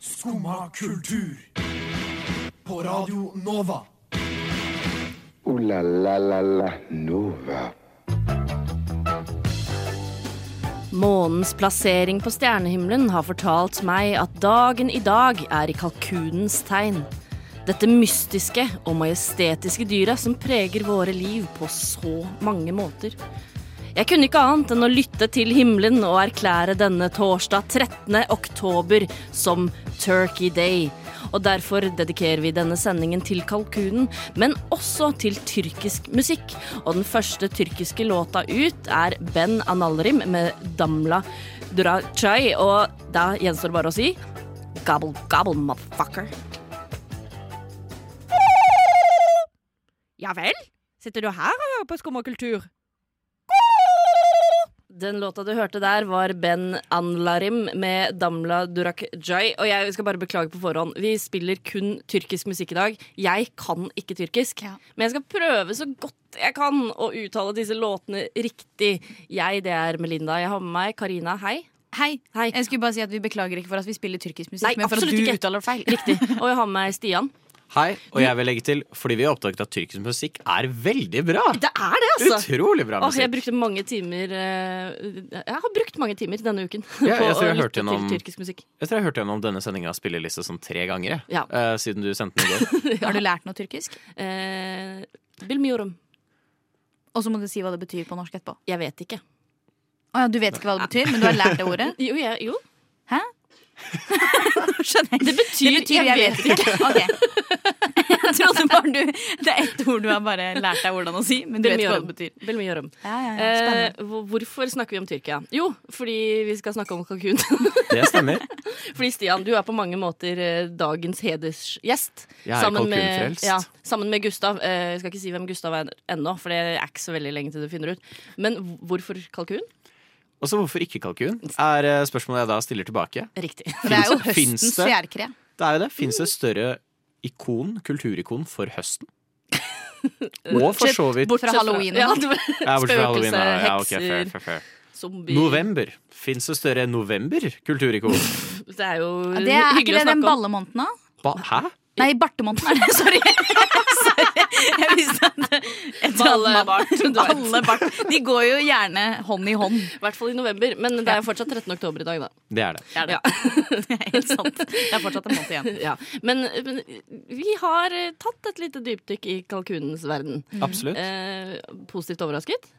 Skumma kultur. På Radio Nova. Ooh la la la la Nova. Månens plassering på stjernehimmelen har fortalt meg at dagen i dag er i kalkunens tegn. Dette mystiske og majestetiske dyret som preger våre liv på så mange måter. Jeg kunne ikke annet enn å lytte til himmelen og erklære denne torsdag 13. oktober som Turkey Day. Og derfor dedikerer vi denne sendingen til kalkunen, men også til tyrkisk musikk. Og den første tyrkiske låta ut er Ben Analrim med Damla Duracay. Og da gjenstår det bare å si gobble gobble, motherfucker. Ja vel? Sitter du her og hører på skummakultur? Den låta du hørte der, var Ben Anlarim med Damla Durakjay. Og jeg skal bare beklage på forhånd. Vi spiller kun tyrkisk musikk i dag. Jeg kan ikke tyrkisk, Ja. men jeg skal prøve så godt jeg kan å uttale disse låtene riktig. Jeg, det er Melinda. Jeg har med meg Karina. Hei. Hei. Hei. Jeg skulle bare si at vi beklager ikke for at vi spiller tyrkisk musikk, Nei, men for at absolutt du ikke. uttaler det feil. Riktig. Og jeg har med meg Stian. Hei, og jeg vil legge til, fordi vi har oppdaget at tyrkisk musikk er veldig bra. Det er det, altså! Utrolig bra Åh, jeg musikk. brukte mange timer eh, Jeg har brukt mange timer denne uken Ja, på jeg å tror jeg hørte lytte til gjennom- tyrkisk musikk. Jeg tror jeg hørte gjennom denne sendinga spilleliste sånn tre ganger, jeg. Ja. Eh, siden du sendte den i går. Har du lært noe tyrkisk? Eh, Bilmiorum. Og så må du si hva det betyr på norsk etterpå. Jeg vet ikke. Å ja, du vet ikke hva det betyr, men du har lært det ordet? Jo, jeg, jo. Skjønner jeg. Det betyr, Det betyr jeg vet ikke. Ok. Jeg trodde bare du Det er ett ord du har bare lært deg hvordan å si, men du vet ikke hva det betyr. Belmiorum. Ja, ja, ja. Eh, Spennende. hvor- hvorfor snakker vi om Tyrkia? Jo, fordi vi skal snakke om kalkun. Det stemmer. fordi Stian, du er på mange måter eh, dagens hedersgjest. Jeg er med, kalkunfrelst. ja, sammen med Gustav. Eh, jeg skal ikke si hvem Gustav er ennå, for det er ikke så veldig lenge til du finner ut. Men hvorfor kalkun? Og så hvorfor ikke kalkun? Er eh, spørsmålet jeg da stiller tilbake. Riktig. For det er jo Finnes- høstens finnes det? fjærkre. Det er jo det. Fins det større ikon, kulturikon, for høsten? Og for så vidt Bort fra halloween. Ja, det var, Ja, bortsett fra halloween, spøkelse, ja, ja, ok, fair, hekser. fair, fair. zombier November. Fins det større november-kulturikon? Det er jo Ja, Det er ikke hyggelig å det den snakke om. ballemåneden, da? Ba hæ? Nei, bartemåneden er det. Sorry. Sorry. Jeg visste at et eller annet- Ballebart, du vet. Alle bart. De går jo gjerne hånd i hånd. I hvert fall i november. Men det er jo fortsatt 13. oktober i dag, da. Det er det. Ja. Det er helt sant. Det er fortsatt en måned igjen. Ja, men, men vi har eh, tatt et lite dypdykk i kalkunens verden. Absolutt. Eh, positivt overrasket?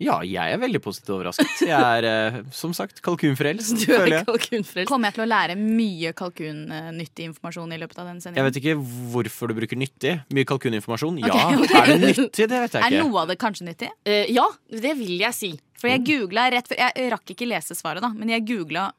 Ja, jeg er veldig positivt overrasket. Jeg er eh, som sagt kalkunfrelst, Du føler er jeg. kalkunfrelst. Kommer jeg til å lære mye kalkunnyttig informasjon i løpet av den Jeg sendingen? vet ikke hvorfor du bruker nyttig. Mye kalkuninformasjon. Ja, er det nyttig? Det vet jeg Er ikke. noe av det kanskje nyttig? Eh, ja, det vil jeg si. For jeg googla rett før Jeg rakk ikke lese svaret, da, men jeg googla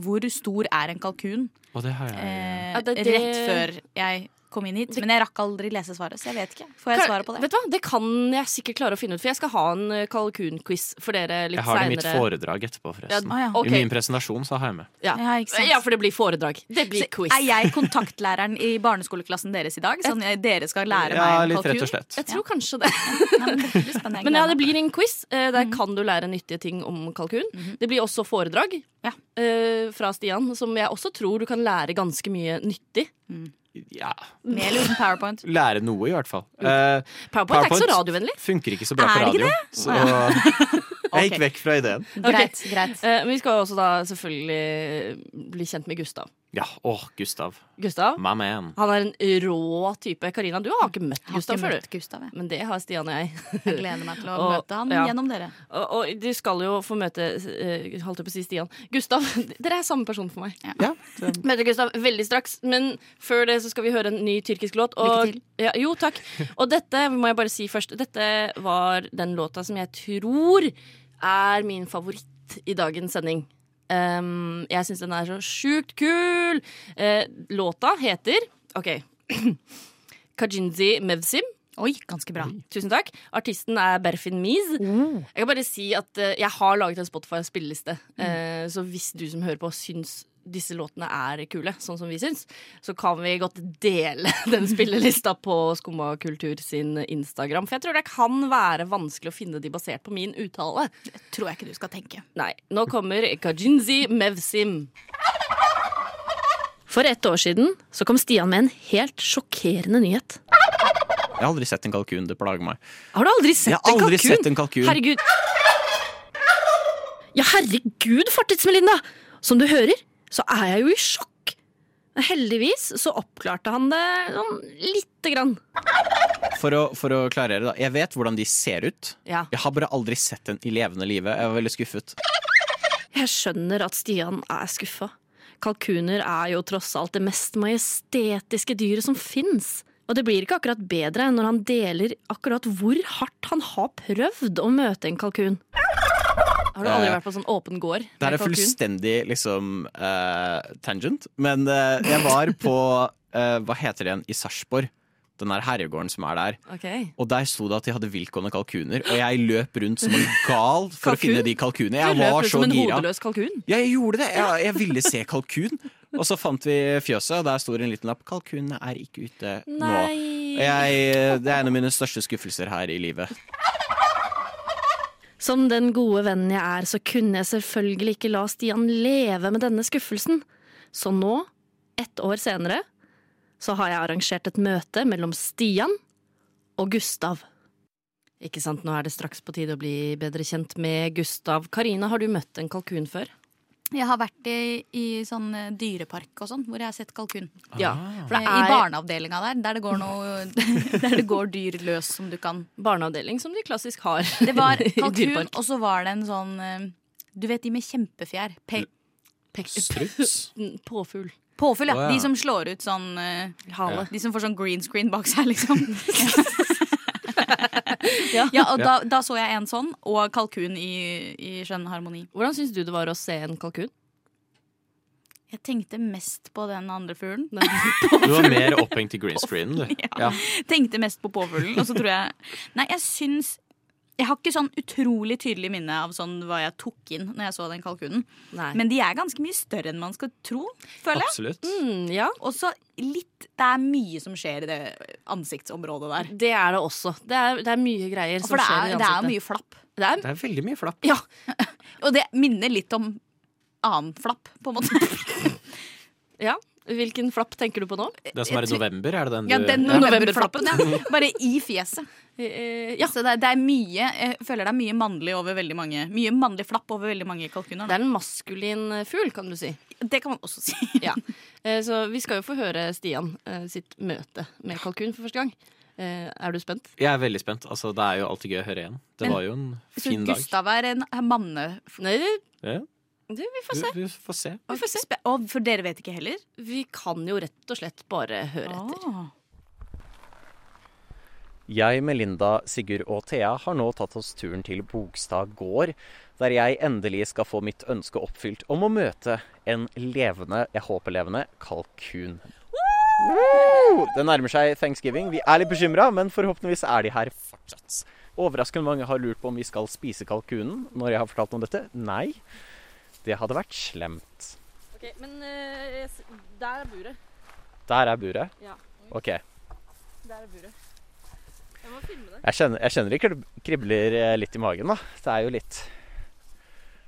hvor stor er en kalkun Og det har jeg. eh, Ja, det- det- rett før jeg kom inn hit. Men jeg rakk aldri lese svaret, så jeg vet ikke. Får jeg svaret på det? Vet du hva? Det kan jeg sikkert klare å finne ut, for jeg skal ha en eh, kalkunquiz for dere litt Jeg har det i mitt seinere. foredrag etterpå, Ja, forresten. Å, ja. ok. I min presentasjon så har jeg med. Ja. Ja, ikke sant. ja, for det blir foredrag. eh, Det blir Så quiz. Er jeg kontaktlæreren i barneskoleklassen deres i dag? Sånn eh, dere skal lære Ja, meg litt kalkun? rett og slett. Jeg tror kanskje det. Ja, men det blir spennende. Jeg Men ja, det gleder meg. Mhm. blir en quiz. eh, Der kan du lære nyttige ting om kalkun. Det blir også foredrag Ja. eh, fra Stian, som jeg også tror du kan lære ganske mye nyttig. Ja, Med eller uten powerpoint. lære noe, i hvert fall. Mm. Eh, PowerPoint er ikke så PowerPoint radiovennlig. funker ikke så bra Er på det ikke radio. Så jeg Ok. gikk vekk fra ideen. Greit, greit. Eh, Men vi skal jo også da selvfølgelig eh, bli kjent med Gustav. Ja, åh, Gustav. Gustav, My man. Han er en rå type. Karina, du har ikke møtt Jeg har Gustav ikke før, møtt du. Gustav, jeg. Men det har Stian og jeg. Jeg gleder meg til å Og- møte han ja. gjennom dere. Og, og du skal jo få møte eh, Holdt jeg på å si Stian. Gustav. Dere er samme person for meg. Ja, Sånn. det- Møter Gustav veldig straks, men før det så skal vi høre en ny tyrkisk låt. Og, Lykke til. Ja, jo, takk. Og dette må jeg bare si først. Dette var den låta som jeg tror er min favoritt i dagens sending. Ehm, jeg syns den er så sjukt kul! Eh, låta heter OK. Kajinzi Mevsim. Oi, ganske bra. Tusen takk. Artisten er Berfin Mees. Jeg kan bare si at eh, jeg har laget en Spotify-spilleliste. eh, så hvis du som hører på syns disse låtene er kule, sånn som vi syns, så kan vi godt dele den spillelista på Skumma kultur sin Instagram. For jeg tror det kan være vanskelig å finne de basert på min uttale. Tror jeg ikke du skal tenke. Nei, nå kommer Kajinzi Mevsim. For ett år siden så kom Stian med en helt sjokkerende nyhet. Jeg har aldri sett en kalkun, det plager meg. Har du aldri sett Jeg har en aldri kalkun? sett en kalkun. Herregud. Ja, herregud, fartidsmelinda! Som du hører, så er jeg jo i sjokk. Men heldigvis så oppklarte han det sånn lite grann. For å, for å klarere, da. Jeg vet hvordan de ser ut. Ja. Jeg har bare aldri sett en i levende live. Jeg var veldig skuffet. Jeg skjønner at Stian er skuffa. Kalkuner er jo tross alt det mest majestetiske dyret som fins. Og det blir ikke akkurat bedre når han deler akkurat hvor hardt han har prøvd å møte en kalkun. Har du aldri Eh, vært på sånn åpen gård Det her med er kalkun? fullstendig liksom eh, tangent, men eh, jeg var på eh, Hva heter det igjen? I Sarpsborg. Den der herregården som er der. Ok. Og der sto det at de hadde viltgående kalkuner, og jeg løp rundt som en gal for å Kalkun? finne de kalkunene. Du Jeg løp var ut så som en gira. hodeløs kalkun. Ja, jeg gjorde det. Jeg, jeg ville se kalkun. Og så fant vi fjøset, og der sto det en liten lapp. 'Kalkunene er ikke ute nå'. Nei. Jeg, det er en av mine største skuffelser her i livet. Som den gode vennen jeg er, så kunne jeg selvfølgelig ikke la Stian leve med denne skuffelsen. Så nå, ett år senere, så har jeg arrangert et møte mellom Stian og Gustav. Ikke sant, nå er det straks på tide å bli bedre kjent med Gustav. Karina, har du møtt en kalkun før? Jeg har vært i, i sånn eh, dyrepark og sånn, hvor jeg har sett kalkun. Ah. Ja. For det Eh, I er barneavdelinga der, der det går noe Der det går dyr løs som du kan. barneavdeling som de klassisk har. Det var i kalkun, dyrepark. og så var det en sånn eh, Du vet de med kjempefjær? Pe Struts? Påfugl. påfyll, ja. Å, ja. De som slår ut sånn eh, Hale. De som får sånn green screen bak seg, liksom. Ja. ja. og da, da så jeg en sånn, og kalkun i, i skjønn harmoni. Hvordan syns du det var å se en kalkun? Jeg tenkte mest på den andre fuglen. Du var mer opphengt i green screenen, du. Ja. Tenkte mest på påfuglen, og så tror jeg Nei, jeg syns Jeg har ikke sånn utrolig tydelig minne av sånn hva jeg tok inn når jeg så den kalkunen. Nei. Men de er ganske mye større enn man skal tro, føler jeg. Absolutt. Mm, ja. Og så litt Det er mye som skjer i det ansiktsområdet der. Det er det også. Det er, det er mye greier som For det skjer i er, det er ansiktet. mye flapp. Det er, Det er veldig mye flapp. ja. Og det minner litt om annen flapp, på en måte. ja. Hvilken flapp tenker du på nå? Den som er i november, er det den du Ja, den Ja. novemberflappen, ja. Bare i fjeset. Eh, Ja, Så det er, det er mye Jeg føler det er mye mannlig over veldig mange Mye mannlig flapp over veldig mange kalkuner. det er en maskulin eh, fugl, kan du si. da. Det kan man også si. Ja. Eh, Så vi skal jo få høre Stian eh, sitt møte med kalkun for første gang. Eh, Er du spent? Jeg er veldig spent. Altså, det er jo alltid gøy å høre igjen. Det Men- var jo en Så fin dag. Gustav er en er manne... Nei, det- Ja. det, vi får Du, se. du får se. Vi får se. Spe- Å, for dere vet ikke heller? Vi kan jo rett og slett bare høre etter. Åh. Jeg, Melinda, Sigurd og Thea har nå tatt oss turen til Bogstad gård, der jeg endelig skal få mitt ønske oppfylt om å møte en levende, jeg håper levende, kalkun. Woo! Det nærmer seg thanksgiving. Vi er litt bekymra, men forhåpentligvis er de her fortsatt. Overraskende mange har lurt på om vi skal spise kalkunen når jeg har fortalt om dette. Nei, det hadde vært slemt. men eh, der er buret. Der er buret. Ja. OK. Der er buret. Jeg må filme det. Jeg kjenner, jeg kjenner det krib- kribler eh, litt i magen, da. Det er jo litt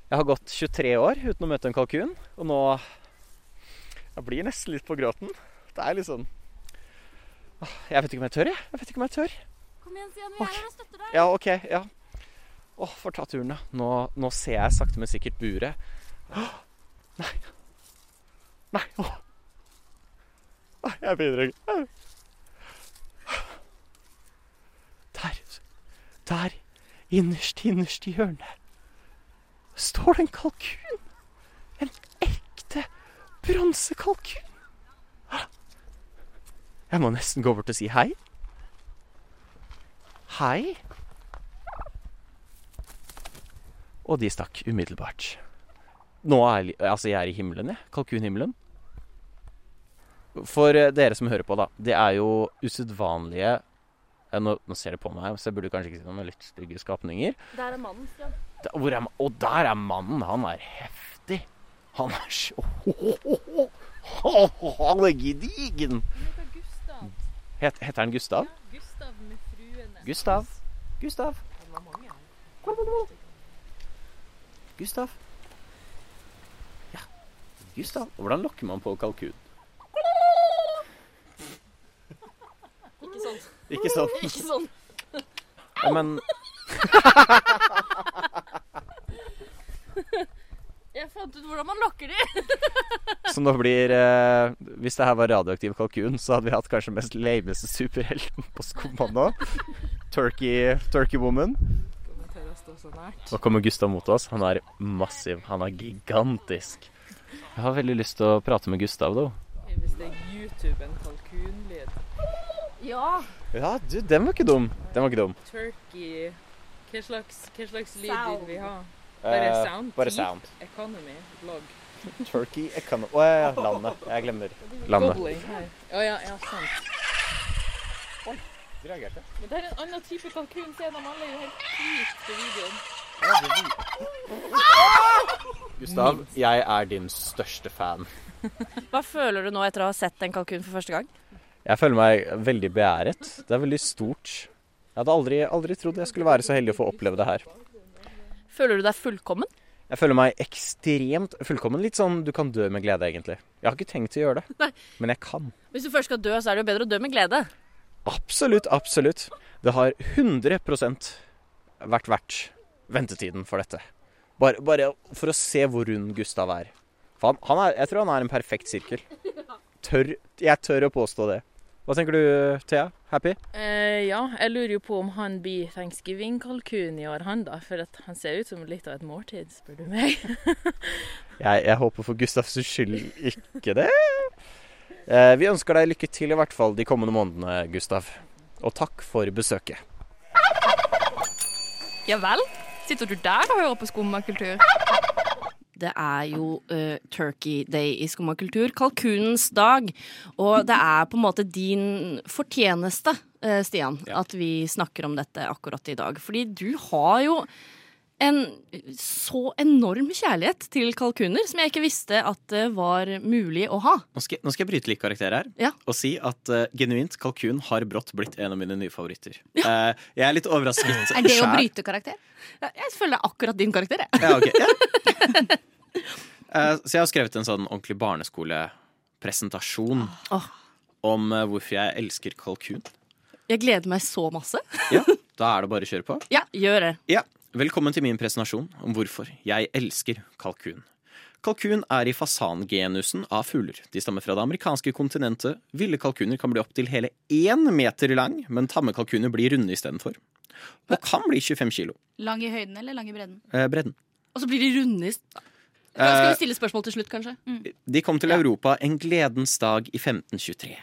Jeg har gått 23 år uten å møte en kalkun, og nå Jeg blir nesten litt på gråten. Det er litt sånn Åh, Jeg vet ikke om jeg tør, jeg. Jeg vet ikke om jeg tør. Kom igjen, Stian. er her Ja, OK. Ja. Å, får ta turen, da. Nå, nå ser jeg sakte, men sikkert buret. Åh, Nei. Nei. Åh. Åh, Jeg begynner å Der. Der, innerst, innerst i hjørnet, står det en kalkun. En ekte bronsekalkun. Åh. Jeg må nesten gå bort og si hei. Hei. Og de stakk umiddelbart. Nå er li- altså jeg er i himmelen, jeg. Kalkunhimmelen. For eh, dere som hører på, da. Det er jo usedvanlige eh, nå, nå ser de på meg, så jeg burde kanskje ikke si noe, men litt stygge skapninger. Der er mannen, Stian. Da- Hvor er, ma- og der er mannen! Han er heftig. Han er så Han er gedigen! Het, heter han Gustav? Gustav med fruene. Gustav. Gustav. Gustav. Ja, Gustav. Hvordan lokker man på kalkun? Ikke sånn. Ikke sånn. Ja, men Jeg fant ut hvordan man lokker de. som da blir eh, Hvis det her var radioaktiv kalkun, så hadde vi hatt kanskje den mest lameste superhelten på skumma nå. Turkey, Turkey Woman. Nå kommer Gustav mot oss. Han er massiv. Han er gigantisk. Jeg har veldig lyst til å prate med Gustav, da. Hvis det er YouTube en kalkunlyd Ja. Ja, du, den var ikke dum. Den var ikke dum. Turkey Hva slags, hva slags lyd Sound. vil vi ha? Bare Eh, sound? Bare Keep sound. Economy? Blog? Turkey Economy Å ja, ja, landet. Jeg glemmer. Landet. Gobbling her. Å ja, ja, sant. Men det er en annen type kalkun. Se, de alle er jo helt hvite på videoen. Gustav, jeg er din største fan. Hva føler du nå etter å ha sett en kalkun for første gang? Jeg føler meg veldig beæret. Det er veldig stort. Jeg hadde aldri, aldri trodd jeg skulle være så heldig å få oppleve det her. Føler du deg fullkommen? Jeg føler meg ekstremt fullkommen. Litt sånn du kan dø med glede, egentlig. Jeg har ikke tenkt å gjøre det, men jeg kan. Hvis du først skal dø, så er det jo bedre å dø med glede. Absolutt, absolutt. Det har 100 vært verdt ventetiden for dette. Bare, bare for å se hvor rund Gustav er. For han, han er. Jeg tror han er en perfekt sirkel. Tør, jeg tør å påstå det. Hva tenker du, Thea? Happy? Eh, ja, jeg lurer jo på om han blir thanksgiving-kalkun i år, han da. For at han ser ut som litt av et måltid, spør du meg. Jeg, jeg håper for Gustavs skyld ikke det. Eh, vi ønsker deg lykke til i hvert fall de kommende månedene, Gustav. Og takk for besøket. Ja vel? Sitter du der og hører på skummakultur? Det er jo eh, Turkey Day i skummakultur, kalkunens dag. Og det er på en måte din fortjeneste, eh, Stian, Ja. at vi snakker om dette akkurat i dag. Fordi du har jo en så enorm kjærlighet til kalkuner som jeg ikke visste at det var mulig å ha. Nå skal, jeg- nå skal jeg bryte litt karakter her Ja. og si at eh, genuint kalkun har brått blitt en av mine nye favoritter. Eh, jeg er litt overrasket. Er det å selv. bryte karakter? Jeg føler det er akkurat din karakter, jeg. Ja, ok. Ja. Eh, så jeg har skrevet en sånn ordentlig barneskolepresentasjon Ah. Åh. om eh, hvorfor jeg elsker kalkun. Jeg gleder meg så masse. Ja, da er det bare å kjøre på. Ja, gjør det. Ja, velkommen til min presentasjon om hvorfor jeg elsker kalkun. Kalkun er i fasangenusen av fugler. De stammer fra det amerikanske kontinentet. Ville kalkuner kan bli opptil hele én meter lang, men tamme kalkuner blir runde istedenfor. Og kan bli 25 kilo. Lang i høyden eller lang i bredden? Eh, bredden. Og så blir de runde i Skal vi Eh, stille spørsmål til slutt, kanskje? de kom til Europa en gledens dag i 1523.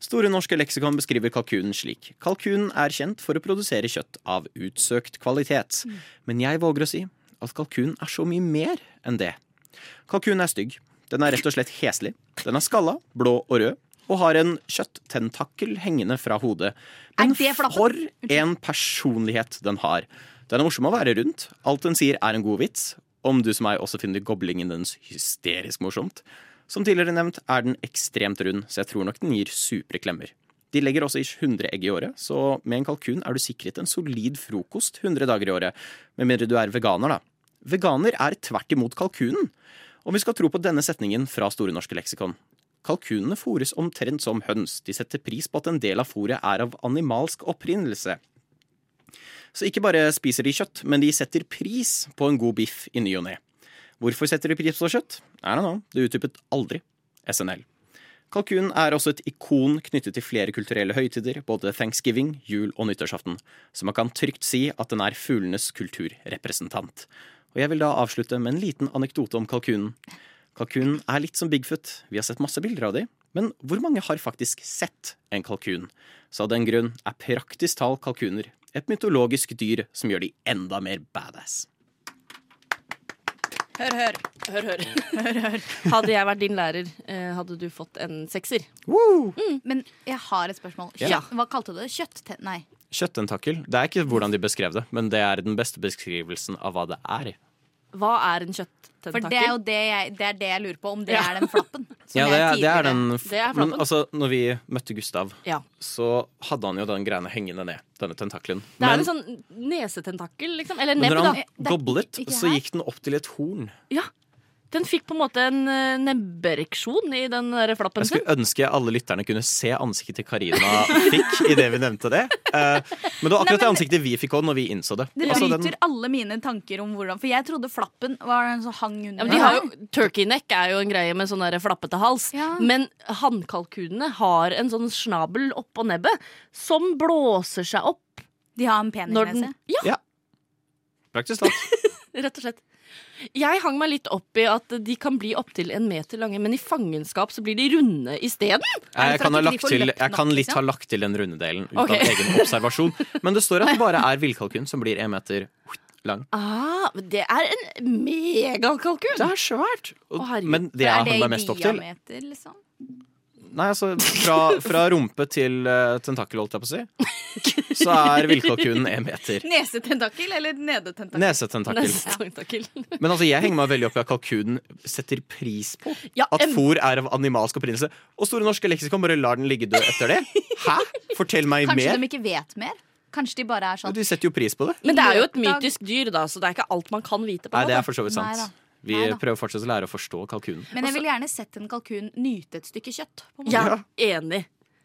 Store norske leksikon beskriver kalkunen slik. Kalkunen er kjent for å produsere kjøtt av utsøkt kvalitet. Men jeg våger å si at kalkunen er så mye mer enn det. Kalkunen er stygg. Den er rett og slett heslig. Den er skalla, blå og rød, og har en kjøttentakkel hengende fra hodet. Men det flappen? for en personlighet den har. Den er morsom å være rundt. Alt den sier er en god vits. Om du som meg også finner goblingen dens hysterisk morsomt. Som tidligere nevnt er den ekstremt rund, så jeg tror nok den gir supre klemmer. De legger også ish 100 egg i året, så med en kalkun er du sikret en solid frokost 100 dager i året. Med mindre du er veganer, da. Veganer er tvert imot kalkunen. Om vi skal tro på denne setningen fra Store norske leksikon. Kalkunene fôres omtrent som høns. De setter pris på at en del av fôret er av animalsk opprinnelse. Så ikke bare spiser de kjøtt, men de setter pris på en god biff i ny og ne. Hvorfor setter de pris på kjøtt? I don't know. Det utdypet aldri SNL. Kalkunen er også et ikon knyttet til flere kulturelle høytider, både thanksgiving, jul og nyttårsaften, så man kan trygt si at den er fuglenes kulturrepresentant. Og jeg vil da avslutte med en liten anekdote om kalkunen. Kalkunen er litt som Bigfoot. Vi har sett masse bilder av de, men hvor mange har faktisk sett en kalkun? Så av den grunn er praktisk talt kalkuner et mytologisk dyr som gjør de enda mer badass. Hør, hør. Hør, hør. Hadde jeg vært din lærer, eh, hadde du fått en sekser. Men jeg har et spørsmål. Kjøtt, Ja. Hva kalte du det? Kjøtt? Nei. Kjøttentakel. Det er ikke hvordan de beskrev det, men det er den beste beskrivelsen av hva det er. Hva er en For kjøtttentakel? det er jo det jeg, det er det jeg lurer på, om det Ja. er den flappen. som Ja, det er, jeg det er tidligere- den Det er Men flappen. altså, når vi møtte Gustav, Ja. så hadde han jo den greiene hengende ned, denne tentakelen. Det er Men, en sånn nesetentakel, liksom. Eller men nebb, når da. han da. goblet, Ikke så her. gikk den opp til et horn. Ja. Den fikk på en måte en eh, nebbereksjon i den der flappen Jeg sin. skulle ønske alle lytterne kunne se ansiktet til Karina fikk idet vi nevnte det. Eh, Men det var akkurat det ansiktet vi fikk òg når vi innså det. Det Altså, bryter den- alle mine tanker om hvordan For jeg trodde flappen var den som hang Ja, under. men de har jo, turkey neck er jo en greie med sånn der flappete hals. Ja. Men hannkalkunene har en sånn snabel oppå nebbet som blåser seg opp De har en penis når den nese. Ja, Praktisk talt. rett og slett. Jeg hang meg litt opp i at de kan bli opptil en meter lange, men i fangenskap så blir de runde isteden. Er Jeg det for kan, at ikke ha de lagt får til, løpt jeg nok, kan litt liksom? ha lagt til den runde delen ut Ok. av egen observasjon. Men det står at det bare er villkalkun som blir én meter lang. Ah, men det er en megakalkun! Det er svært! Og, Å, herregud. men det jeg er hang meg mest opp til diameter, liksom? Nei, altså fra, fra rumpe til eh, tentakel, holdt jeg på å si, så er villkalkunen én meter. Nesetentakel eller nedetentakel? Nesetentakel. Nesten takkel. Men altså, jeg henger meg veldig opp i at kalkunen setter pris på Ja, at em- fôr er av animalsk opprinnelse. Og Store norske leksikon bare lar den ligge død etter det. Hæ? Fortell meg Kanskje mer. de ikke vet mer? Kanskje de bare er sånn De setter jo pris på det. Men det er jo et Løpdag. mytisk dyr, da, så det er ikke alt man kan vite. på Nei, en det er måte. for så vidt Nei sant. da. Vi Nei da. prøver fortsatt å lære å forstå kalkunen. Men jeg ville gjerne sett en kalkun nyte et stykke kjøtt. På en måte. Jeg er enig.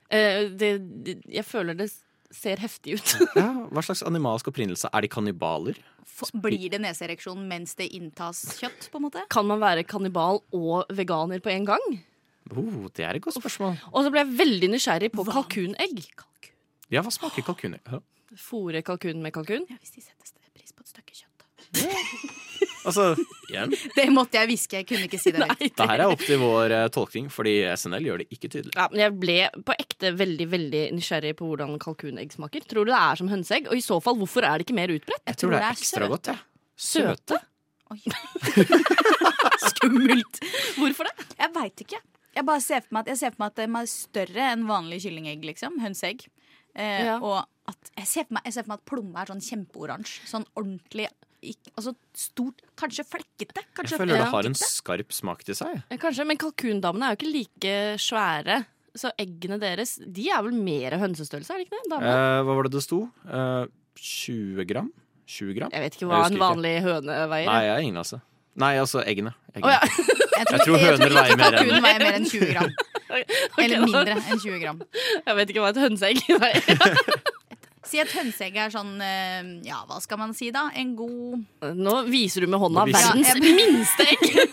Eh, det, det, jeg føler det ser heftig ut. Ja, hva slags animalsk opprinnelse? Er de kannibaler? F- Blir det neseereksjon mens det inntas kjøtt? på en måte? Kan man være kannibal og veganer på en gang? Oh, det er et godt spørsmål. Og så ble jeg veldig nysgjerrig på kalkunegg. Ja, hva smaker kalkuner? Ja. Fôre kalkunen med kalkun? Ja, hvis de setter pris på et stykke kjøtt. Altså, igjen, Det måtte jeg hviske. Jeg kunne ikke si det. høyt. det her er opp til vår eh, tolkning, fordi SNL gjør det ikke tydelig. Ja, men jeg ble på ekte veldig veldig nysgjerrig på hvordan kalkunegg smaker. Tror du det er som hønseegg? Og i så fall, hvorfor er det ikke mer utbredt? Jeg tror det er ekstra godt, jeg. Søte? Skummelt! Hvorfor det? Jeg veit ikke. Jeg bare ser for meg at, jeg ser for meg at de er større enn vanlige kyllingegg. liksom, Hønseegg. Eh, Ja. Og at jeg ser, for meg, jeg ser for meg at plomme er sånn kjempeoransje. Sånn ordentlig ikk- Altså stort. Kanskje flekkete. Kanskje Jeg føler det flekkete. har en skarp smak til seg. Ja, Eh, Kanskje, men kalkundamene er jo ikke like svære. Så eggene deres de er vel mer hønsestørrelse, er det ikke det? damene? Eh, hva var det det sto? Eh, 20 gram? 20 gram? Jeg vet ikke jeg hva husker en ikke. vanlig høne veier. Nei, jeg er ingen, altså. Nei, altså eggene. eggene. Å, ja. Jeg Jeg tror høner veier mer enn kalkunen veier mer enn 20 gram. Eller da- mindre enn 20 gram. Jeg vet ikke hva et hønseegg veier. Si at hønseegg er sånn eh, Ja, hva skal man si da? En god Nå viser du med hånda Nå viser- verdens Ja, jeg- minste egg.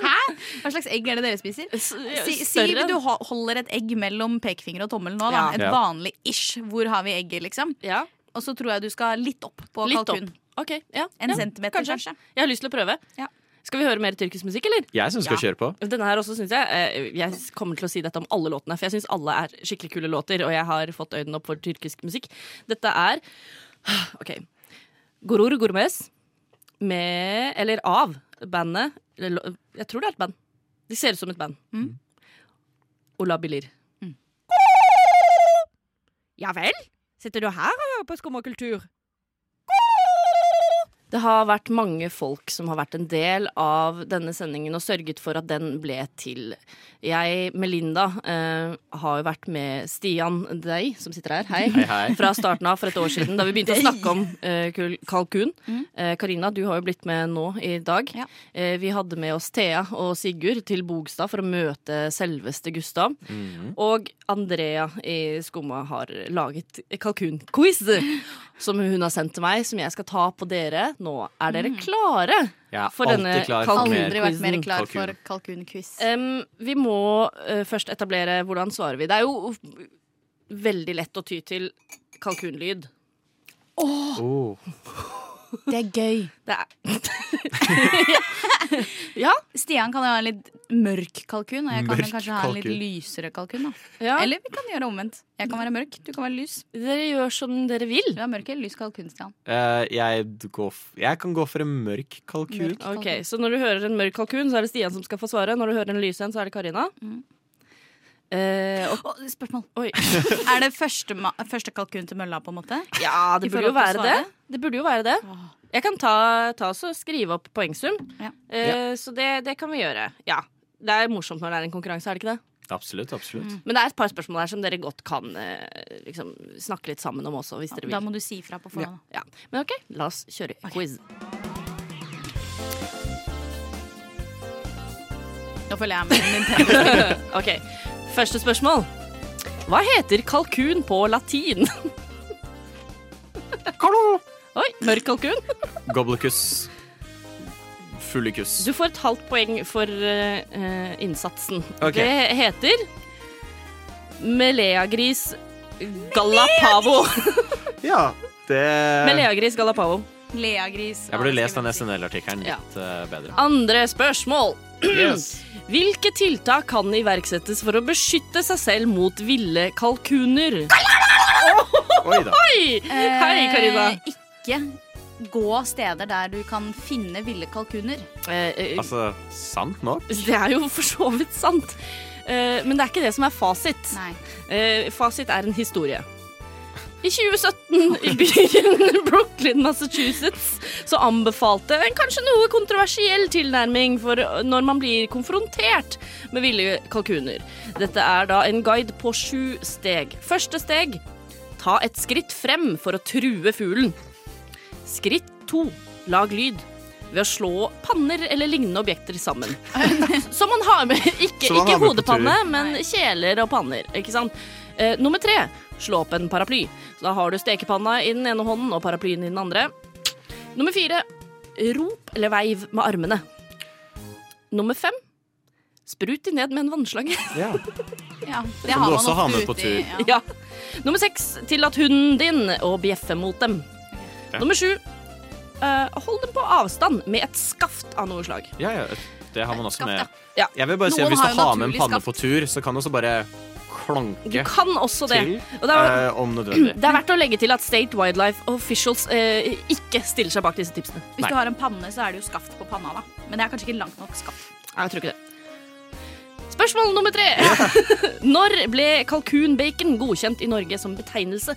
Hæ? Hva slags egg er det dere spiser? Si, si Større. du ho- holder et egg mellom pekefinger og tommel nå, da. Ja. Et Ja. vanlig ish. Hvor har vi egget, liksom? Ja, Og så tror jeg du skal litt opp på litt kalkun. opp. Ok, ja. En ja. centimeter, kanskje. kanskje. Jeg har lyst til å prøve. Ja. Skal vi høre mer tyrkisk musikk, eller? Jeg syns vi skal Ja. kjøre på. Denne her også, synes jeg. eh, Jeg kommer til å si dette om alle låtene, for jeg syns alle er skikkelig kule låter, og jeg har fått øynene opp for tyrkisk musikk. Dette er OK. Goror Gourmes med, eller av, bandet eller lo- Jeg tror det er et band. De ser ut som et band. Ola Bilir. Ja vel? Sitter du her og hører på Skum og kultur? Det har vært mange folk som har vært en del av denne sendingen og sørget for at den ble til. Jeg, Melinda, eh, har jo vært med Stian, deg som sitter her, hei, Hei, hei. fra starten av for et år siden, da vi begynte å snakke om eh, kul- kalkun. Eh, Karina, du har jo blitt med nå i dag. Ja. Eh, vi hadde med oss Thea og Sigurd til Bogstad for å møte selveste Gustav. Og Andrea i Skumma har laget kalkunquiz, som hun har sendt til meg, som jeg skal ta på dere. Nå er dere klare Jeg er for denne alltid klar for kalkunen. mer. Aldri vært mer Quizen. klar Kalkun. for kalkunquiz. Em, vi må eh, først etablere hvordan svarer vi. Det er jo veldig lett å ty til kalkunlyd. Oh. Det er gøy. Det er Stian kan jo ha en litt mørk kalkun, og jeg kan Mørk kanskje ha en litt kalkun. lysere kalkun. da ja, Eller vi kan gjøre det omvendt. Jeg kan være mørk, du kan være lys. Dere gjør som dere vil. Du er mørk eller lys kalkun, Stian. Eh, jeg, går f jeg kan gå for en mørk kalkun. Mørk. Ok, Så når du hører en mørk kalkun, så er det Stian som skal få svare. Når du hører en lys en, så er det Karina. Eh, og, Å, spørsmål. oi. Er det første, ma- første kalkun til mølla, på en måte? Ja, det I burde jo forhold være til det. svaret? Det burde jo være det. Åh. Jeg kan ta, ta oss og skrive opp poengsum. Ja. Eh, Så det, det kan vi gjøre. Ja. Det er morsomt når det er en konkurranse, er det ikke det? Absolutt, absolutt. Men det er et par spørsmål her som dere godt kan eh, liksom, snakke litt sammen om også, hvis dere Da vil. må du si fra på forhånd. Ja. Men OK, la oss kjøre quiz. Nå følger jeg med Nintendo. OK. Første spørsmål. Hva heter kalkun på latin? Oi, mørk kalkun. Goblikus. Fulikus. Du får et halvt poeng for eh, eh, innsatsen. Ok. Det heter Meleagris galapavo. Ja, det Meleagris galapavo. Leagris. Jeg burde lest den SNL-artikkelen Ja. litt eh, bedre. Andre spørsmål. Yes. Hvilke tiltak kan iverksettes for å beskytte seg selv mot ville kalkuner? Oi da. Hei, Hei Karina. Eh, ikke gå steder der du kan finne ville kalkuner. Eh, eh, Altså, sant nok? Det er jo for så vidt sant. Eh, Men det er ikke det som er fasit. Nei. Eh, Fasit er en historie. I 2017 i byen Brooklyn, Massachusetts, så anbefalte en kanskje noe kontroversiell tilnærming for når man blir konfrontert med ville kalkuner. Dette er da en guide på sju steg. Første steg ta et skritt frem for å true fuglen. Skritt to lag lyd ved å slå panner eller lignende objekter sammen. Så man har med ikke, Så ikke man har med på hodepanne, tur. men kjeler og panner. Ikke sant? Eh, nummer tre slå opp en paraply. Så da har du stekepanna i den ene hånden og paraplyen i den andre. Nummer fire rop eller veiv med armene. Nummer fem sprut de ned med en vannslange. Ja, det Som har du man også har med ofte på ute tur. i- ja. Ja. Nummer seks, tillat hunden din å bjeffe mot dem. Ja. Nummer sju, eh, hold dem på avstand med et skaft av noe slag. Ja, ja, det har man også Skaft, med. ja. Ja. Jeg vil bare si at Noen Hvis har du jo har med en naturlig panne skaft. på tur, så kan du også bare klonke Du kan også det. til Og det er, eh, om nødvendig. det er verdt å legge til at State Wildlife Officials eh, ikke stiller seg bak disse tipsene. Hvis Nei. du har en panne, så er det jo skaft på panna, da. Men det er kanskje ikke langt nok skaft. Nei, jeg tror ikke det. Spørsmål nummer tre. Når ble kalkunbacon godkjent i Norge som betegnelse?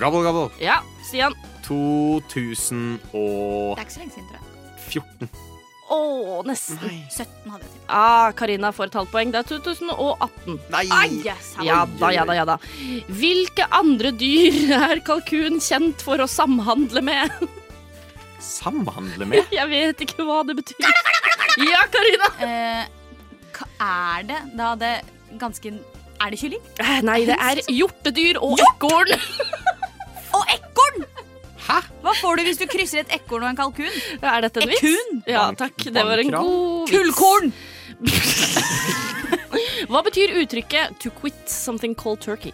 Gabbel, gabbel. Ja, Stian. 2014. Det er ikke så lenge siden, tror jeg. Å, nesten. 17 hadde jeg til. Ah, Karina får et halvt poeng. Det er 2018. Nei! Ja da, ja da, ja da. Hvilke andre dyr er kalkun kjent for å samhandle med? Samhandle med? Jeg vet ikke hva det betyr. Ja, Karina. Eh, hva er det da det ganske Er det kylling? Eh, Nei, det er hjortedyr og ekorn. Og ekorn! Hva får du hvis du krysser et ekorn og en kalkun? Er dette en vits? Ekun? Ja, takk. Det var en Bankkran? god vits. Kullkorn! Hva betyr uttrykket 'to quit something cold turkey'?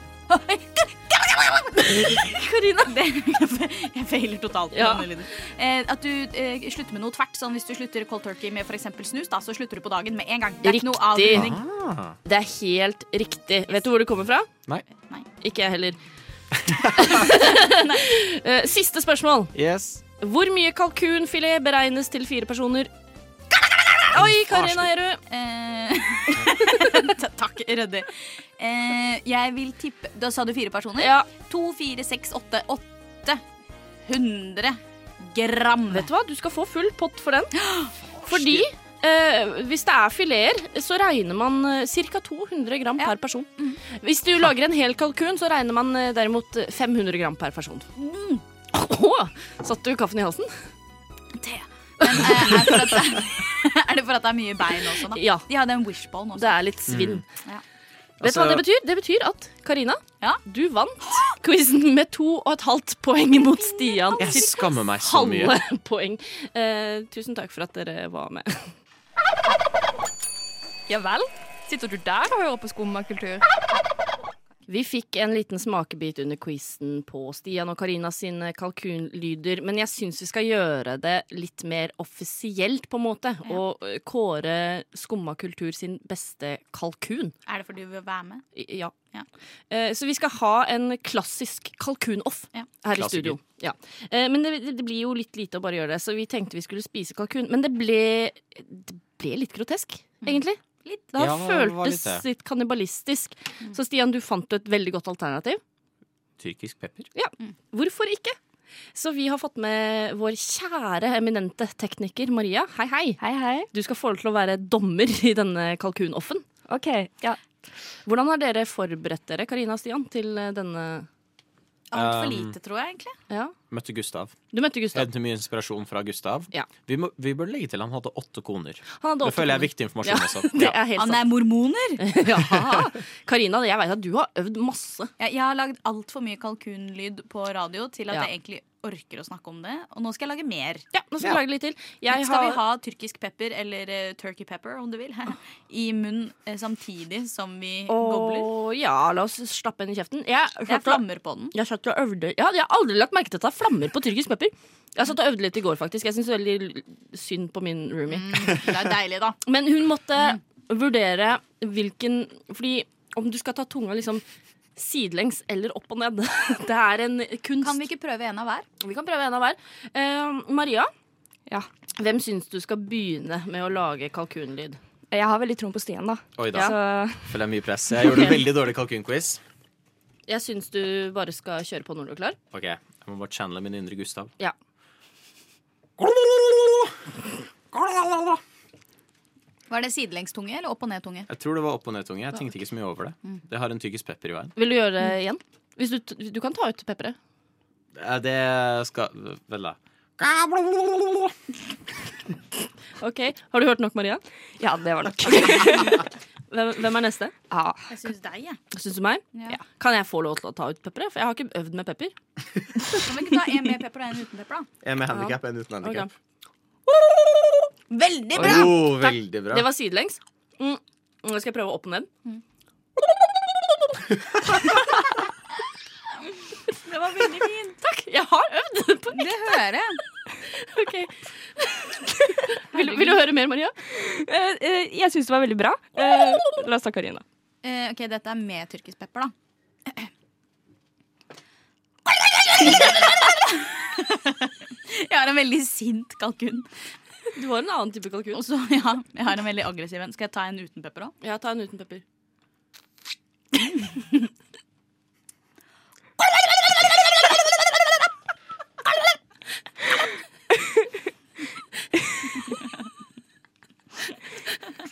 Karina. Det, jeg feiler totalt. på Ja. denne lyden. Eh, at du eh, slutter med noe tvert. Sånn, hvis du slutter cold turkey med f.eks. snus, da, så slutter du på dagen med en gang. Det er ikke noe Riktig. avrunding. Ah. Det er helt riktig. Vet du hvor det kommer fra? Nei. Nei. Ikke jeg heller. Eh, Siste spørsmål. Yes. Hvor mye kalkunfilet beregnes til fire personer? Oi, Karina Gjerud. Eh, Takk, Rødde. Eh, jeg vil tippe Da sa du fire personer? Ja, To, fire, seks, åtte, åtte hundre gram. Vet du hva, du skal få full pott for den. Fordi eh, hvis det er fileter, så regner man eh, ca. 200 gram Ja. Mm. per person. Hvis du lager en hel kalkun, så regner man eh, derimot 500 gram per person. Mm. Åh, satt du kaffen i halsen? Men, eh, er, det for at det, er det for at det er mye bein også, da? Ja. De hadde en wishbone også. Det er litt svinn. Mm. Ja. Vet du hva Altså- det betyr? Det betyr at Karina, Ja. du vant quizen med to og et halvt poeng mot Stian. Jeg sitt skammer meg så mye. Halve poeng. Eh, tusen takk for at dere var med. Ja vel? Sitter du der og hører på skummakultur? Vi fikk en liten smakebit under quizen på Stian og Karina sine kalkunlyder, men jeg syns vi skal gjøre det litt mer offisielt, på en måte, og eh, kåre Skumma kultur sin beste kalkun. Er det fordi du vil være med? I- Ja. Ja. Eh, Så vi skal ha en klassisk kalkunoff Ja. her i Klassiker. studio. Ja. Eh, Men det, det blir jo litt lite å bare gjøre det, så vi tenkte vi skulle spise kalkun. Men det ble, det ble litt grotesk, egentlig. Litt. Det har Ja, det var litt føltes det. litt kannibalistisk. Så Stian, du fant jo et veldig godt alternativ. Tyrkisk pepper. Hvorfor ikke? Så vi har fått med vår kjære eminente tekniker Maria. Hei, hei. Hei, hei. Du skal få lov til å være dommer i denne kalkunoffen. OK. Ja. Hvordan har dere forberedt dere, Karina og Stian, til eh, denne Altfor Um, lite, tror jeg, egentlig. Ja. Møtte Gustav. Du møtte Gustav. Hentet mye inspirasjon fra Gustav. Ja. Vi, må, vi bør legge til han hadde åtte koner. Han hadde Det føler jeg er åtte viktig informasjon også. kroner. Det er helt Han sant. er mormoner! Jaha. Karina, jeg vet at du har øvd masse. Jeg, jeg har lagd altfor mye kalkunlyd på radio til at Ja. jeg egentlig orker å snakke om det. Og nå skal jeg lage mer. Ja, nå skal vi lage litt til. Jeg skal vi har- ha tyrkisk pepper, eller eh, turkey pepper om du vil, i munnen eh, samtidig som vi gobler? Å, ja, la oss slappe henne i kjeften. Jeg, Jeg satt og- flammer på den. jeg satt og øvde ja, Jeg har aldri lagt merke til at det er flammer på tyrkisk pepper. Jeg satt og øvde litt i går, faktisk. Jeg syns veldig synd på min roomie. Mm. Det er deilig, da. Men hun måtte vurdere hvilken Fordi om du skal ta tunga liksom sidelengs eller opp og ned Det er en kunst. Kan vi ikke prøve en av hver? Vi kan prøve en av hver. Eh, Maria, hvem syns du skal begynne med å lage kalkunlyd? Jeg har veldig troen på Stian, da. Oi da, Ja. Så føler jeg mye press. Jeg gjorde en veldig dårlig kalkunquiz. Jeg syns du bare skal kjøre på når du er klar. Ok, jeg må bare channele min indre Gustav. Ja. Jeg Var det sidelengstunge eller opp og ned-tunge? tror det var opp- og nedtunge. Jeg tenkte ikke så mye over det. Mm. Det har en tyrkisk pepper i veien. Vil du gjøre det Mm. igjen? Hvis du, t- du kan ta ut pepperet. Eh, Det skal Vel, da. Ok, Har du hørt nok, Maria? ja, det var nok. Hvem, hvem er neste? Ja. Jeg syns deg, jeg. Syns du meg? Ja. Kan jeg få lov til å ta ut pepperet? For jeg har ikke øvd med pepper. Kan vi ikke ta en med pepper og en uten pepper, da? En med handikap, en uten handikap. Ok. Veldig bra! Oh, veldig bra. Det var sidelengs. Mm. Nå skal jeg prøve opp og ned. Det var veldig fint. Takk, jeg har øvd! På. Det hører jeg. Ok. vil, vil du høre mer, Maria? Eh, eh, Jeg syns det var veldig bra. Eh, La oss ta Karina. Eh, ok, dette er med tyrkisk pepper, da. Jeg har en veldig sint kalkun. Du har en annen type kalkun. Og så, ja, jeg har en veldig aggressiv en. Skal jeg ta en uten pepper òg? Ja, ta en uten pepper.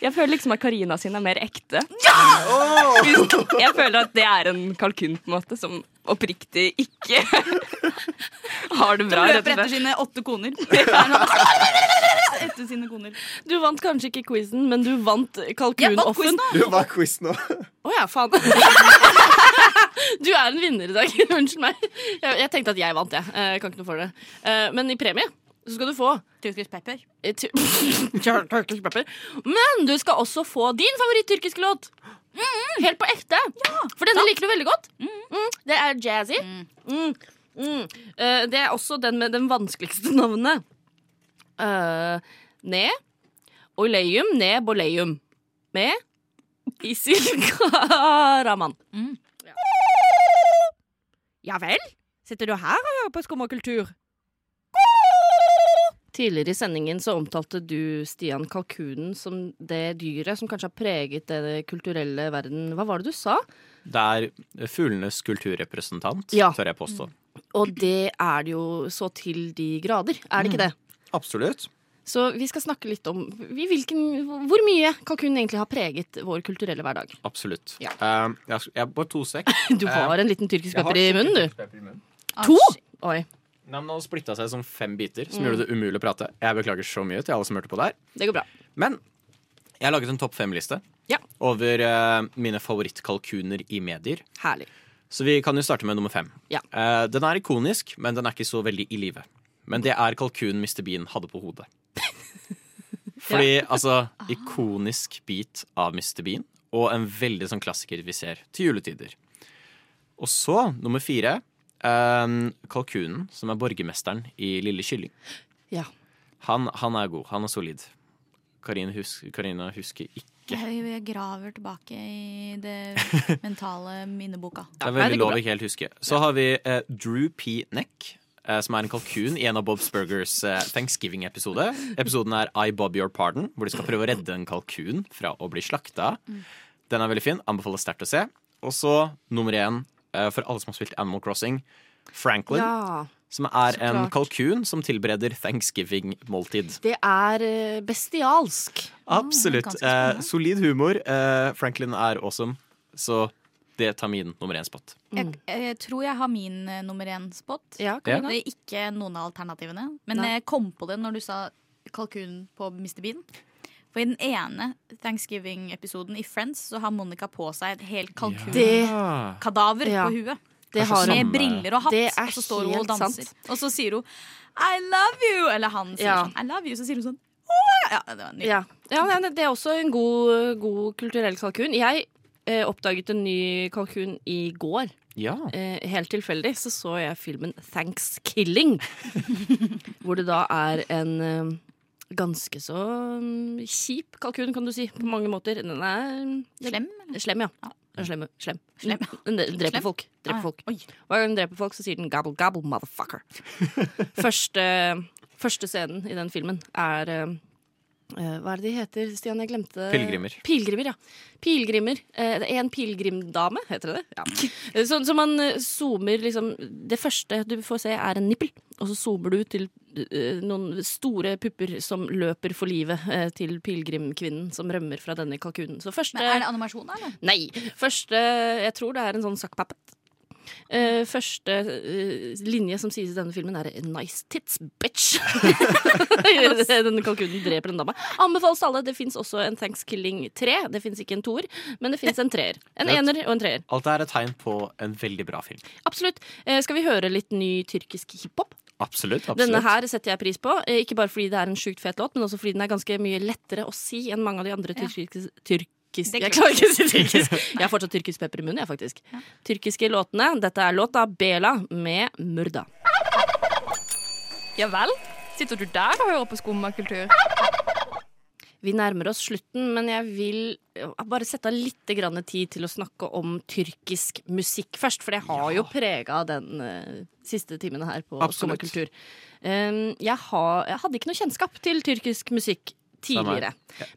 Jeg føler liksom at Karina sin er mer ekte. Jeg føler at det er en kalkun på en måte som oppriktig ikke har det bra. Løper rett og etter slett. sine åtte koner. Etter sine koner. Du vant kanskje ikke quizen, men du vant Jeg vant quizen, kalkunoffen. da. Det var quiz nå. Å ja, faen. Du er en vinner i dag. Unnskyld meg. Jeg, jeg tenkte at jeg vant, jeg. Eh, Jeg kan ikke noe for det. Eh, Men i premie så skal du få Tyrkisk pepper. eh, ty- Turkish pepper. Men du skal også få din favoritt-tyrkiske låt. Mm, Helt på ekte. For denne liker du veldig godt. Mm, Det er jazzy. Mm. Mm. Eh, Det er også den med den vanskeligste navnet. Eh, ne oileum ne boleum. Med Isil Karaman. Mm. Ja vel? Sitter du her og hører på skummakultur? Tidligere i sendingen så omtalte du Stian kalkunen som det dyret som kanskje har preget den kulturelle verden. Hva var det du sa? Det er fuglenes kulturrepresentant, Ja. tør jeg påstå. Og det er det jo så til de grader, er det ikke det? Absolutt. Så vi skal snakke litt om vi, hvilken, hvor mye kalkunen egentlig har preget vår kulturelle hverdag. Absolutt. Ja. Eh, jeg har- jeg har bare to sekk. Du har en liten tyrkisk pepper i munnen, du. Ah, To! shit. Oi, Nei, men Den hadde splitta seg som fem biter, Mm. som gjorde det umulig å prate. Jeg beklager så mye til alle som hørte på der. det går bra. Men jeg har laget en topp fem-liste Ja. over eh, mine favorittkalkuner i medier. Herlig. Så vi kan jo starte med nummer fem. Ja. Eh, den er ikonisk, men den er ikke så veldig i live. Men det er kalkunen Mr. Bean hadde på hodet. Fordi, altså, ikonisk bit av Mr. Bean, og en veldig sånn klassiker vi ser til juletider. Og så, nummer fire, eh, kalkunen, som er borgermesteren i Lille Kylling. Ja. Han, han er god. Han er solid. Karina, husk, Karina husker ikke. Jeg jeg graver tilbake i det mentale minneboka. Det nei, er det veldig går lov bra. å ikke helt huske. Så har vi eh, Drew P. Neck, eh, som er en kalkun i en av Bob's Burgers eh, Thanksgiving-episode. Episoden er I Bob Your Pardon, hvor de skal prøve å redde en kalkun fra å bli slakta. Den er veldig fin. Anbefales sterkt å se. Og så nummer én, eh, for alle som har spilt Animal Crossing, Franklin, ja. som er så en klart. kalkun som tilbereder thanksgiving-måltid. Det er eh, bestialsk. Absolutt. ganske spennende. Eh, solid humor. Eh, Franklin er awesome. Så Det tar min nummer én-spot. Mm. Jeg, jeg tror jeg har min eh, nummer én-spot. kom igjen da. Det er ikke noen av alternativene. Men Nei. jeg kom på det når du sa kalkun på Mr. Bean. For i den ene Thanksgiving-episoden i Friends så har Monica på seg et helt Ja. kalkunkadaver Ja. på huet. Det har med hun. briller og hatt, Det er og så står hun og helt danser. sant. Og så sier hun 'I love you', eller han sier Ja. sånn 'I love you', så sier hun sånn «Åh!» Ja, det var nydelig. Ja. ja, nei, det er også en god, god kulturell kalkun. Jeg eh, oppdaget en ny kalkun i går. Ja. Eh, helt tilfeldig så så jeg filmen Thanksgiving, hvor det da er en eh, ganske så mm, kjip kalkun, kan du si, på mange måter. Den er eh, Slem? Slem, ja. Den er Slem. slem. Slem, Den de- dreper Slem? folk. Ah, Dreper ja. folk. Hver gang den dreper folk, så sier den 'gobble gobble, motherfucker'. første, første scenen i den filmen er eh, eh, Hva er det de heter, Stian? Jeg glemte Pilgrimer. Pilgrimer, ja. Pilgrimer. Eh, det er en pilegrimdame, heter det det? Ja. Eh, Så, så man eh, zoomer liksom Det første du får se, er en nippel. Og så zoomer du til eh, noen store pupper som løper for livet eh, til pilegrimkvinnen som rømmer fra denne kalkunen. Så første Men er det animasjon, da, eller? Nei. Første Jeg tror det er en sånn sakkpappe. Eh, første eh, linje som sies i denne filmen, er 'nice tits, bitch'. denne kalkunen dreper en dame. Anbefales alle. Det fins også en Thanksgiving 3. Det fins ikke en toer, men det fins en treer. En Rett. ener og en treer. Alt det er et tegn på en veldig bra film. Absolutt. Eh, skal vi høre litt ny tyrkisk hiphop? Absolutt. absolutt. Denne her setter jeg pris på, eh, ikke bare fordi det er en sjukt fet låt, men også fordi den er ganske mye lettere å si enn mange av de andre tyrkiske tyrkisk, Det er klart. Jeg klarer ikke å si tyrkisk. Jeg har fortsatt tyrkisk pepper i munnen, jeg, faktisk. Tyrkiske låtene. Dette er låta Bela med Murda. Ja vel? Sitter du der og hører på skummakultur? Vi nærmer oss slutten, men jeg vil eh, bare sette av litt grann tid til å snakke om tyrkisk musikk først, for det har jo prega den eh, siste timene her på Absolutt. Skummakultur. Um, jeg, har- jeg hadde ikke noe kjennskap til tyrkisk musikk tidligere,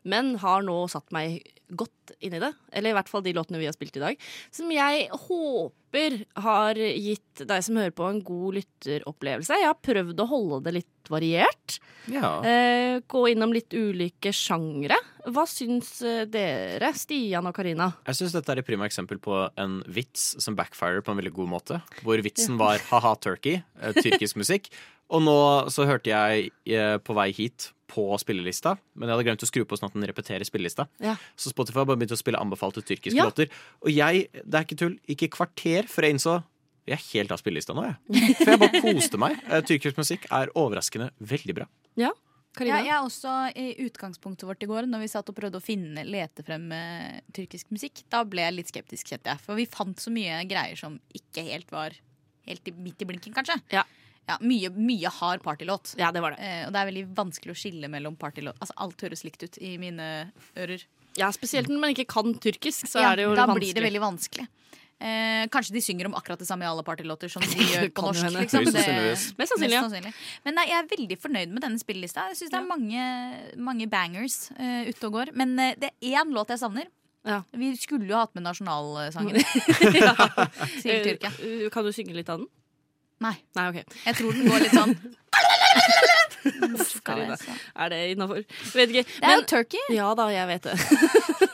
men har nå satt meg godt inn i det. Eller i hvert fall de låtene vi har spilt i dag. Som jeg håper har gitt deg som hører på, en god lytteropplevelse. Jeg har prøvd å holde det litt variert. Ja. Eh, gå innom litt ulike sjangre. Hva syns eh, dere, Stian og Karina? Jeg syns dette er et prima eksempel på en vits som backfirer på en veldig god måte. Hvor vitsen var ha-ha turkey, eh, tyrkisk musikk. Og nå så hørte jeg eh, på vei hit på spillelista, men jeg hadde glemt å skru på sånn at den repeterer spillelista. Ja. Så Spotify bare begynte å spille anbefalte tyrkiske Ja. låter. Og jeg, det er ikke tull, gikk i kvarter før jeg innså jeg er helt av spillelista nå, jeg. For jeg bare koste meg. Eh, Tyrkisk musikk er overraskende veldig bra. Ja, Ja, jeg er også i utgangspunktet vårt i går, når vi satt og prøvde å finne, lete frem eh, tyrkisk musikk, da ble jeg litt skeptisk, kjente jeg. For vi fant så mye greier som ikke helt var helt i, midt i blinken, kanskje. Ja. mye, mye hard partylåt. Ja, det var det. Eh, og det er veldig vanskelig å skille mellom partylåt. Altså, alt høres likt ut i mine ører. Ja, spesielt når man ikke kan tyrkisk, så Ja, er det jo da vanskelig. blir det veldig vanskelig. Eh, kanskje de synger om akkurat det samme i alle partylåter som de gjør kan på jo norsk. hende. Liksom. Høyst Det- sannsynligvis. Mest sannsynlig, ja. Men nei, jeg er veldig fornøyd med denne spillelista. Jeg syns det er mange, mange bangers eh, ute og går. Men eh, det er én låt jeg savner. Vi skulle jo hatt med nasjonalsangen til Eh, Tyrkia. eh, Kan du synge litt av den? Nei. Nei, ok. Jeg tror den går litt sånn Karina, er det innafor? Vet ikke. Det er jo Turkey. Ja da, jeg vet det.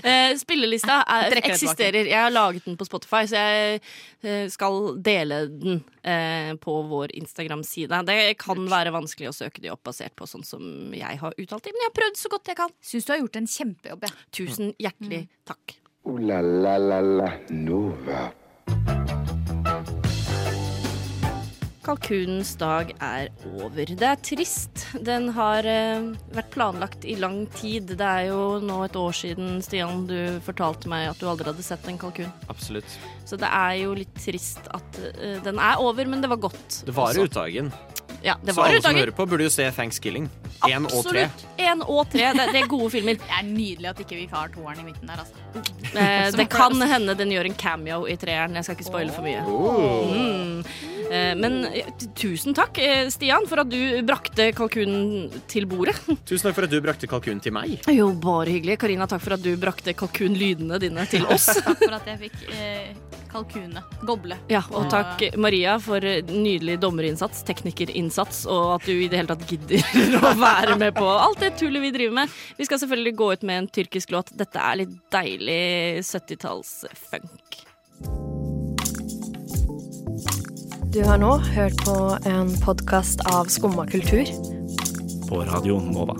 Eh, Spillelista er, Trekker det eksisterer. Jeg har laget den på Spotify, så jeg eh, skal dele den eh, på vår Instagram-side. Det kan være vanskelig å søke de opp basert på sånn som jeg har uttalt dem, men jeg har prøvd så godt jeg kan. Syns du har gjort en kjempejobb, jeg. Tusen hjertelig takk. Ooh la la la la Nova. Kalkunens dag er over. Det er trist. Den har eh, vært planlagt i lang tid. Det er jo nå et år siden, Stian, du fortalte meg at du aldri hadde sett en kalkun. Absolutt. Så det er jo litt trist at eh, den er over, men det var godt. Det varer også. ut dagen. Ja, det Så var alle som utdager. hører på, burde jo se Thanksgiving. Én og tre. Absolutt. Én og tre. Det, det er gode filmer. Det er nydelig at ikke vi har toeren i midten der, altså. Eh, Som det jeg pleier å kan hende den gjør en cameo i treeren. Jeg skal ikke spoile for mye. Oh. Mm. Eh, men eh, t- tusen takk, eh, Stian, for at du brakte kalkunen til bordet. Tusen takk for at du brakte kalkunen til meg. Jo, bare hyggelig. Karina, takk for at du brakte kalkunlydene dine til oss. Takk for at jeg fikk eh, kalkunene. Goble. Ja, og takk Maria for nydelig dommerinnsats, teknikerinnsats, og at du i det hele tatt gidder å være med på alt det tullet vi driver med. Vi skal selvfølgelig gå ut med en tyrkisk låt. Dette er litt deilig 70-talls-funk. Du har nå hørt på en podkast av Skumma kultur. På radioen Nova.